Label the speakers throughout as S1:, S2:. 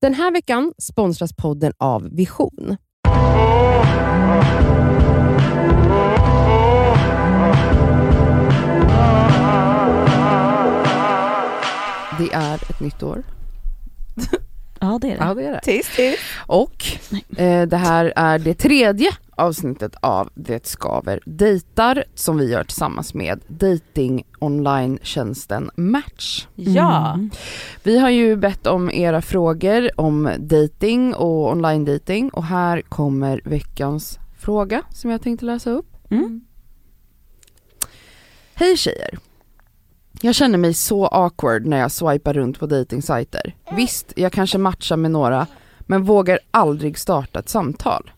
S1: Den här veckan sponsras podden av Vision. Det är ett nytt år.
S2: Ja, det är det.
S1: det är det.
S3: Tyst, tyst.
S1: Och eh, det här är det tredje avsnittet av Det skaver dejtar som vi gör tillsammans med dating online Match. Mm.
S3: Ja.
S2: Mm.
S1: Vi har ju bett om era frågor om dating och online dating och här kommer veckans fråga som jag tänkte läsa upp.
S2: Mm.
S1: Hej tjejer! Jag känner mig så awkward när jag swipar runt på dejtingsajter. Visst, jag kanske matchar med några, men vågar aldrig starta ett samtal.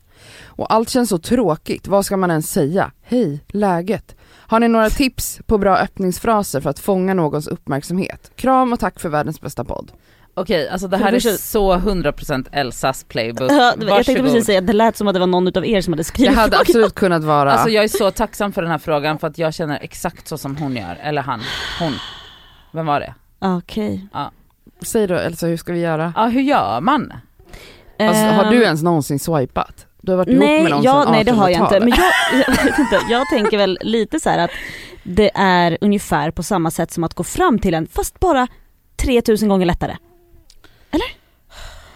S1: Och allt känns så tråkigt, vad ska man ens säga? Hej, läget? Har ni några tips på bra öppningsfraser för att fånga någons uppmärksamhet? Kram och tack för världens bästa podd.
S4: Okej, alltså det här är så 100% Elsas playbook.
S2: Ja, det var- jag tänkte
S4: Varsågod.
S2: precis säga att det lät som att det var någon av er som hade
S1: Det
S2: skrivit
S1: hade
S2: frågan.
S1: absolut kunnat vara...
S4: Alltså jag är så tacksam för den här frågan för att jag känner exakt så som hon gör, eller han, hon. Vem var det?
S2: Okej.
S1: Säg då Elsa, hur ska vi göra?
S4: Ja hur gör man?
S1: Alltså, har du
S2: Ehm,
S1: ens någonsin swipat? Du har varit ihop med
S2: Nej,
S1: någon
S2: jag,
S1: sedan
S2: nej det har jag inte.
S1: 1800-talet.
S2: Men jag, jag, vet inte, jag tänker väl lite så här att det är ungefär på samma sätt som att gå fram till en fast bara 3000 gånger lättare. Eller?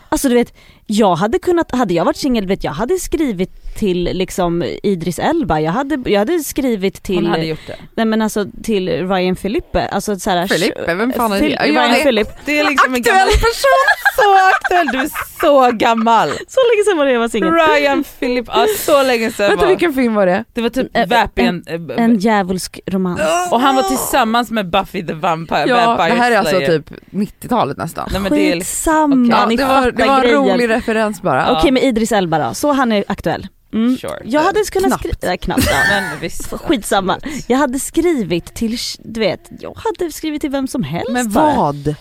S2: Alltså du vet, jag hade kunnat, hade jag varit singel, du vet, jag hade skrivit till liksom Idris Elba, jag hade, jag hade skrivit
S4: Hon
S2: till,
S4: hade gjort det.
S2: nej men alltså till Ryan Philippe, alltså så här,
S1: Filippe, vem fan är
S2: Phil-
S1: det? Ja, jag
S2: Ryan
S1: vet.
S2: Philippe.
S3: Det är liksom en gammal...
S4: Aktuell
S3: person! Så aktuell, du är så gammal.
S2: Så länge sedan var det jag var singel.
S3: Ryan Philip, ja, så länge sedan
S1: Vänta
S3: var.
S1: vilken film var det?
S4: Det var typ
S2: En-
S4: Vapian,
S2: En djävulsk romans.
S4: och han var tillsammans med Buffy the Vampire,
S1: Ja, det
S4: Vampire
S1: här är alltså
S4: Slayer.
S1: typ 90-talet nästan.
S4: Nej, men det är,
S2: Skitsamma,
S1: Ja,
S4: Ja,
S2: ni
S1: det, var, det var en
S2: grejen.
S1: rolig referens bara.
S4: Ja.
S2: Okej med Idris Elba då, så han är aktuell. Mm.
S4: Sure.
S2: Jag hade kunnat
S1: Knappt.
S2: skriva, nej knappt ja.
S4: eh. men visst.
S2: Skitsamma. Jag hade skrivit till, du vet, jag hade skrivit till vem som helst
S1: Men
S2: bara.
S1: vad?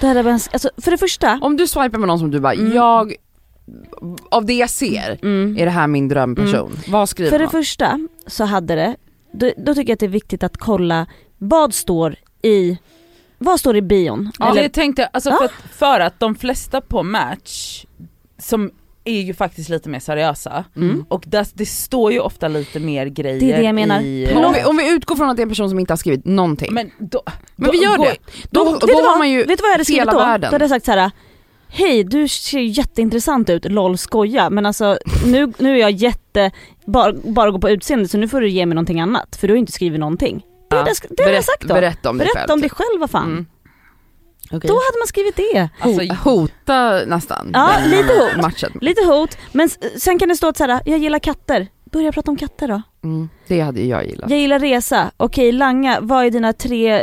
S2: Det här är bara en- alltså, för det första,
S1: Om du swipar med någon som du bara,
S2: Mm.
S1: jag, av det jag ser
S2: mm,
S1: är det här min drömperson. Vad skriver
S2: för det
S1: man?
S2: första så hade det, då, då tycker jag att det är viktigt att kolla vad står i, vad står i bion?
S4: Ja,
S2: Eller, Ah!
S4: det tänkte jag, alltså
S2: Ja.
S4: för, att, för att de flesta på Match, som är ju faktiskt lite mer seriösa,
S1: Mm.
S4: och där, det står ju ofta lite mer grejer
S2: Det är det jag menar.
S4: i... eh,
S1: Men om, vi, om vi utgår från att det är en person som inte har skrivit någonting. Men,
S4: Men då,
S1: vi gör
S4: då-
S1: det. Då, då,
S2: vet, du
S1: har
S2: vad,
S1: man ju
S2: vet du vad jag hade skrivit
S1: hela
S2: då?
S1: världen.
S2: Då hade jag sagt så här. Hej du ser ju jätteintressant ut, LOL skoja men alltså nu, nu är jag jätte, bara, bara gå på utseende så nu får du ge mig någonting annat för du har ju inte skrivit någonting. Det,
S1: Ja.
S2: hade jag sk- det hade jag sagt då.
S1: berätta om dig själv.
S2: Berätta om dig själv vad fan.
S1: Mm. Okej.
S2: Då hade man skrivit det.
S4: Alltså,
S1: Ho- hota nästan.
S2: Ja,
S1: den
S2: lite hot.
S1: Matchen.
S2: Lite hot men s- sen kan det stå att så här, jag gillar katter. Börja prata om katter då.
S1: Mm, det hade ju jag gillat.
S2: Jag gillar resa. Okej Langa, vad är dina tre,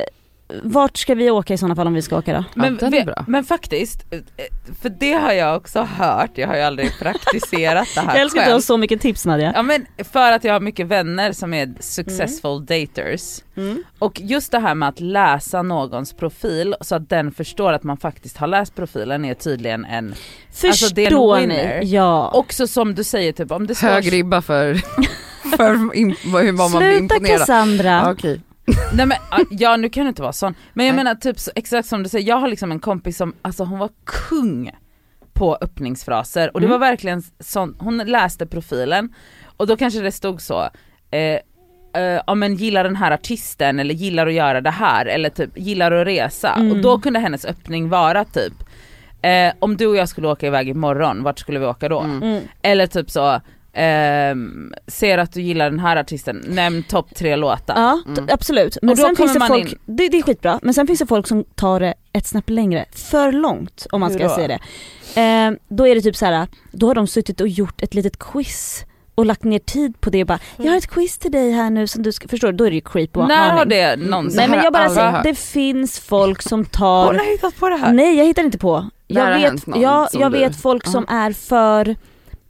S2: vart ska vi åka i sådana fall om vi ska åka då?
S1: Men,
S4: men,
S1: ja, den är
S4: ve-
S1: bra.
S4: men faktiskt, eh, för det har jag också hört, jag har ju aldrig praktiserat det här
S2: Jag älskar att du har
S4: själv.
S2: så mycket tips Nadja.
S4: Ja men för att jag har mycket vänner som är successful daters.
S2: Mm.
S4: Och just det här med att läsa någons profil så att den förstår att man faktiskt har läst profilen är tydligen en... Alltså, det är en
S2: Förstår
S4: winner.
S2: ni? Ja.
S4: Också som du säger typ om det står...
S1: Hög ribba för, för in, vad- hur vad man blir
S2: Sluta
S1: imponerad.
S2: Cassandra.
S1: Ja, Okej.
S4: Nej men ah, ja nu kan du inte vara sån. Men jag
S1: Nej.
S4: menar typ så, exakt som du säger, jag har liksom en kompis som, alltså hon var kung på öppningsfraser och det
S2: Mm.
S4: var verkligen sån, hon läste profilen och då kanske det stod så, eh, eh, ja men gillar den här artisten eller gillar att göra det här eller typ gillar att resa
S2: Mm.
S4: och då kunde hennes öppning vara typ eh, om du och jag skulle åka iväg imorgon, vart skulle vi åka då?
S1: Mm.
S2: Mm.
S4: Eller typ så, ehm, ser att du gillar den här artisten, nämn topp tre låtar.
S2: Ja, t-
S1: Mm.
S2: absolut. Men
S4: Och då
S2: sen finns
S4: kommer
S2: det
S4: man
S2: folk,
S4: in.
S2: det, det är skitbra, men sen finns det folk som tar det ett snäpp längre, för långt om man
S4: Hur
S2: ska
S4: då?
S2: säga det. Eh, då är det typ så här, då har de suttit och gjort ett litet quiz och lagt ner tid på det och bara,
S1: Mm.
S2: jag har ett quiz till dig här nu som du ska, förstår du? Då är det ju creep och
S4: När
S2: aning.
S4: har det någonsin Alltså,
S2: Nej men jag bara
S1: Aldrig
S2: säger,
S1: hört.
S2: det finns folk som tar
S4: har hittat på det
S2: Nej jag hittar inte på.
S1: Där har
S2: Jag,
S1: hänt
S2: vet,
S1: någon
S2: jag,
S1: som
S2: jag
S1: du-
S2: vet folk
S1: Ja.
S2: som är för,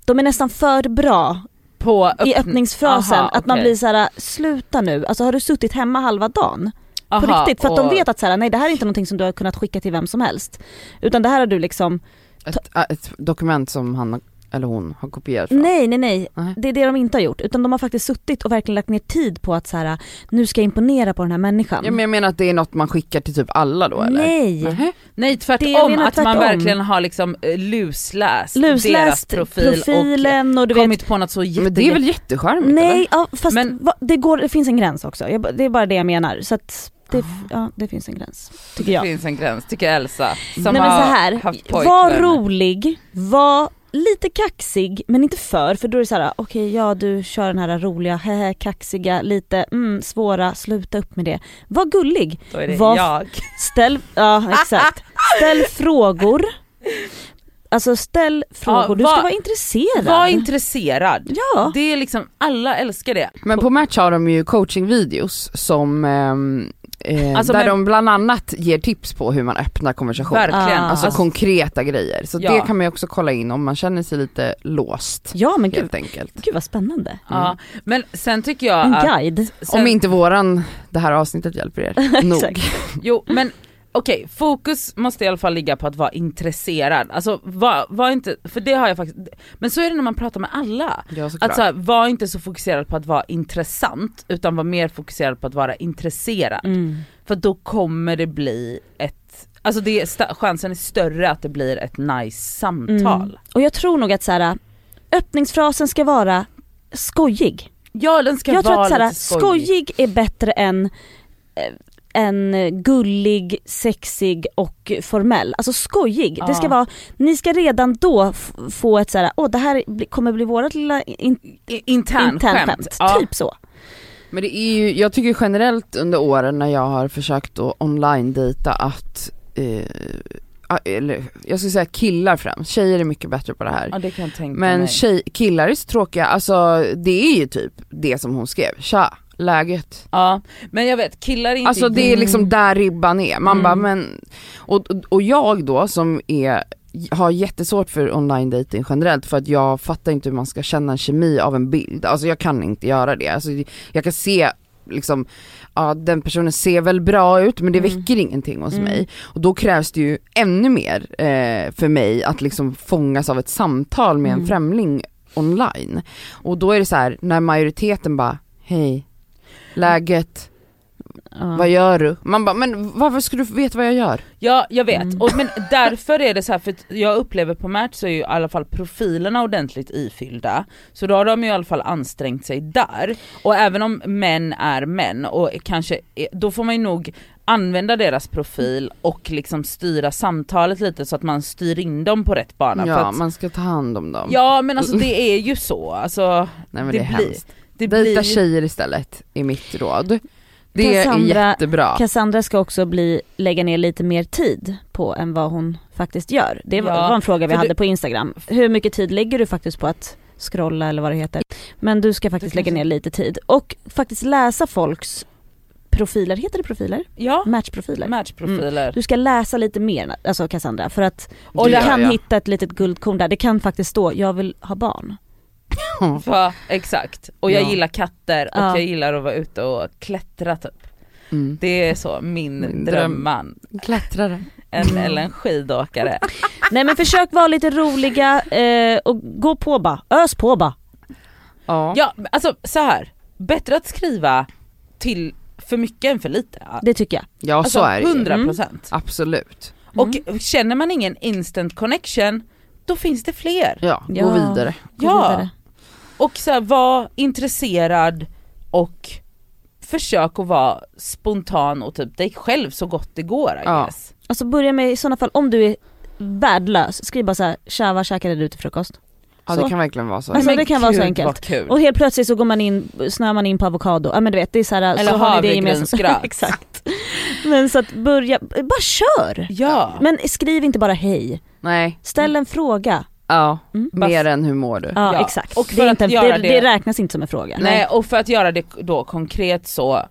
S2: de är nästan för bra
S4: På öppn-
S2: i öppningsfrasen.
S4: Aha,
S2: Att man
S4: okej.
S2: blir så här: sluta nu, alltså har du suttit hemma halva dagen? På
S4: Aha,
S2: riktigt, för att
S4: och-
S2: de vet att så här, nej det här är inte någonting som du har kunnat skicka till vem som helst. Utan det här har du liksom,
S1: Ett, äh, ett dokument som han har eller hon har kopierat från.
S2: Nej nej nej,
S1: Nej.
S2: det är det de inte har gjort utan de har faktiskt suttit och verkligen lagt ner tid på att så här, nu ska jag imponera på den här människan.
S1: Ja, men jag menar att det är något man skickar till typ alla då eller?
S2: nej!
S1: Nähä.
S4: Nej
S2: Det jag
S4: tvärtom,
S2: menar
S4: att man
S2: tvärtom.
S4: verkligen har liksom eh, lusläst, deras
S2: Lusläst
S4: profil
S2: profilen och
S4: och
S2: du vet
S4: kommit på något så jätte...
S1: Men det är väl jättecharmigt
S2: Nej,
S1: eller?
S2: ja, fast
S4: Men-
S2: va, det, går, det finns en gräns också. Jag, ba- det är bara det jag menar. Så att det,
S4: Ah.
S2: ja, det finns en gräns, tycker
S4: Det
S2: jag.
S4: finns en gräns, tycker jag Elsa. Som
S2: Nej men
S4: har
S2: så här,
S4: haft
S2: var
S4: pojkvän.
S2: rolig, var lite kaxig men inte för, för då är det så här: okej ja du kör den här roliga, hehe, kaxiga, lite mm, svåra, sluta upp med det. Var gullig,
S4: Då är det
S2: Vad-
S4: jag.
S2: ställ, ja exakt, ställ frågor. Alltså ställ frågor, du
S4: var-
S2: ska vara intresserad.
S4: Var intresserad.
S2: ja.
S4: Det är liksom, alla älskar det.
S1: Men på Match har de ju coachingvideos som ehm, eh,
S4: Alltså,
S1: där
S4: men-
S1: de bland annat ger tips på hur man öppnar konversationer.
S4: Verkligen.
S2: Ah.
S1: Alltså konkreta grejer. Så
S4: Ja.
S1: det kan man ju också kolla in om man känner sig lite låst
S2: ja men gud,
S1: helt enkelt.
S2: gud vad spännande.
S4: ja. Men sen tycker jag
S2: En
S4: att...
S2: guide.
S4: Sen,
S1: Om inte våran, det här avsnittet hjälper er nog.
S2: Exakt.
S4: Jo men okej, fokus måste i alla fall ligga på att vara intresserad. Alltså var, var inte, för det har jag faktiskt, men så är det när man pratar med alla.
S1: Ja såklart.
S4: Att så här, var inte så fokuserad på att vara intressant utan var mer fokuserad på att vara intresserad.
S2: Mm.
S4: För då kommer det bli ett, alltså det är, sta- chansen är större att det blir ett nice samtal.
S2: Mm. Och jag tror nog att så här, öppningsfrasen ska vara skojig.
S4: Ja den ska
S2: jag tror
S4: vara
S2: att så här,
S4: lite skojig.
S2: skojig är bättre än eh, en gullig, sexig och formell. Alltså skojig.
S4: Ja.
S2: Det ska vara, ni ska redan då f- få ett såhär, åh det här bli- kommer bli vårt lilla in-
S4: I- Internskämt.
S2: internskämt.
S4: Ja.
S2: Typ så.
S1: Men det är ju, jag tycker generellt under åren när jag har försökt att online dejta att, eh, ah, eller jag skulle säga killar främst, tjejer är mycket bättre på det här.
S4: Ja det kan jag tänka
S1: Men
S4: mig.
S1: tjej, killar är så tråkiga, alltså det är ju typ det som hon skrev, tja, läget.
S4: Ja, men jag vet killar är inte
S1: Alltså det är liksom där ribban är, man
S4: Mm.
S1: bara men, och, och jag då som är har jättesvårt för online dating generellt för att jag fattar inte hur man ska känna en kemi av en bild, alltså jag kan inte göra det. Alltså, jag kan se liksom, ja den personen ser väl bra ut men det
S4: Mm.
S1: väcker ingenting hos
S4: Mm.
S1: mig. Och då krävs det ju ännu mer eh, för mig att liksom fångas av ett samtal med en
S4: Mm.
S1: främling online. Och då är det så här när majoriteten bara, hej, läget,
S2: Ja.
S1: vad gör du? Man bara, men varför ska du veta vad jag gör?
S4: Ja jag vet,
S2: Mm.
S4: och, men därför är det så här för att jag upplever på Match så är ju i alla fall profilerna ordentligt ifyllda. Så då har de ju i alla fall ansträngt sig där. Och även om män är män och kanske, är- då får man ju nog använda deras profil och liksom styra samtalet lite så att man styr in dem på rätt bana. för
S1: Ja,
S4: att,
S1: man ska ta hand om dem.
S4: ja men alltså det är ju så, alltså
S1: Nej men
S4: det
S1: det, är
S4: blir-
S1: hemskt.
S4: det
S1: Dejta
S4: blir
S1: tjejer istället, är mitt råd. Det är
S2: Cassandra-
S1: jättebra.
S2: Cassandra ska också bli, lägga ner lite mer tid på än vad hon faktiskt gör. Det var,
S4: Ja,
S2: var en fråga vi
S4: för du-
S2: hade på Instagram. Hur mycket tid lägger du faktiskt på att scrolla eller vad det heter? Men du ska faktiskt
S4: Du kanske-
S2: lägga ner lite tid och faktiskt läsa folks profiler, heter det profiler?
S4: ja,
S1: Mm.
S2: Matchprofiler.
S4: matchprofiler.
S2: Du ska läsa lite mer, alltså Cassandra, för att
S4: Och
S2: du
S4: det-
S2: kan
S1: ja.
S2: hitta ett litet guldkorn där. Det kan faktiskt stå, jag vill ha barn.
S4: Va, exakt, och jag
S1: Ja.
S4: gillar katter och
S2: Ja.
S4: jag gillar att vara ute och klättra typ.
S1: Mm.
S4: Det är så min,
S1: Min dröm.
S4: drömman.
S1: Klättrare.
S4: En, eller en skidåkare.
S2: Nej men försök vara lite roliga eh, och gå på bara, ös på bara.
S1: Ja.
S4: Ja men alltså så här. bättre att skriva till för mycket än för lite.
S2: Det tycker jag.
S1: Ja
S4: Alltså
S1: så är det ju. Mm.
S4: 100%. procent.
S1: Absolut.
S4: Och känner man ingen instant connection, då finns det fler.
S1: Ja, gå
S2: Ja.
S1: vidare.
S2: Gå
S4: Ja.
S2: vidare.
S4: Och så här, var intresserad och försök att vara spontan och typ dig själv så gott det går I
S1: Ja.
S4: guess.
S2: Alltså börja med i sådana fall, om du är värdelös, skriv bara såhär “tja vad käkade du till frukost?”
S1: Ja det
S2: Så.
S1: kan verkligen vara så.
S2: Alltså,
S4: Men
S2: det kan vara så
S4: gud,
S2: enkelt.
S4: vad kul.
S2: Och helt plötsligt så går man in, snör man in på avokado, ja men du vet det är såhär,
S4: Eller
S2: så har ni det gemensamt.
S4: havregrynsgröt.
S2: Exakt. Men så att börja, bara kör!
S4: ja. Mm.
S2: Men skriv inte bara hej,
S1: Nej,
S2: ställ en fråga.
S1: ja.
S2: Mm.
S1: Mer än hur mår du?
S2: Ja,
S4: Ja.
S2: exakt.
S4: Och
S2: det,
S4: för
S2: är
S4: att
S2: inte, en-
S4: göra
S2: det, det
S4: det-
S2: räknas inte som en fråga.
S4: Nej och för att göra det då konkret så,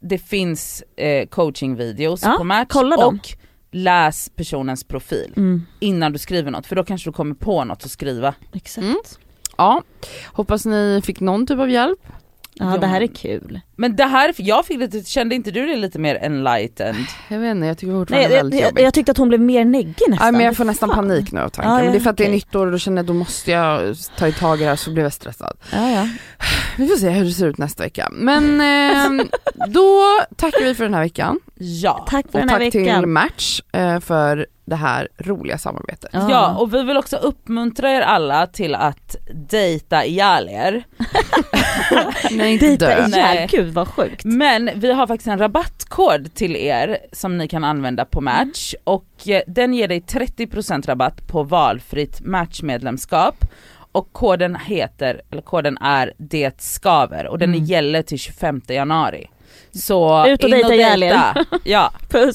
S4: det finns eh, coachingvideos
S2: Ja,
S4: på Match
S2: kolla
S4: och
S2: dem.
S4: läs personens profil
S2: Mm,
S4: innan du skriver något för då kanske du kommer på något att skriva.
S2: exakt.
S1: Mm. Ja, hoppas ni fick någon typ av hjälp.
S2: Ja,
S4: Ja,
S2: det här är
S4: men-
S2: kul.
S4: Men det här, jag fick lite, kände inte du det lite mer enlightened?
S1: Jag vet inte, jag tycker
S2: Nej,
S1: fortfarande
S2: jag,
S1: det är väldigt
S2: jag,
S1: jobbigt.
S2: jag tyckte att hon blev mer neggig nästan.
S1: Nej, men jag får nästan
S2: Fan.
S1: panik nu av tanken.
S2: Ja, ja,
S1: men det är för att det är
S2: okej.
S1: nytt år och då känner jag då måste jag ta i tag i det här så blev jag stressad.
S2: Ja, ja.
S1: Vi får se hur det ser ut nästa vecka. Men eh, då tackar vi för den här veckan.
S4: Ja.
S2: Tack för
S1: Och
S2: den här
S1: tack till
S2: veckan.
S1: Match eh, för det här roliga samarbetet.
S2: Ja.
S4: Ja och vi vill också uppmuntra er alla till att dejta ihjäl er.
S1: Nej inte
S2: Dejta
S1: dö.
S2: ihjäl,
S4: Nej.
S2: gud vad sjukt.
S4: Men vi har faktiskt en rabattkod till er som ni kan använda på
S2: Mm.
S4: Match och eh, den ger dig 30% rabatt på valfritt Match-medlemskap och koden heter, eller koden är det skaver och den
S2: Mm.
S4: gäller till 25 januari. Så
S2: Ut och
S4: in
S2: dejta ihjäl er.
S4: Ja.
S2: Puss.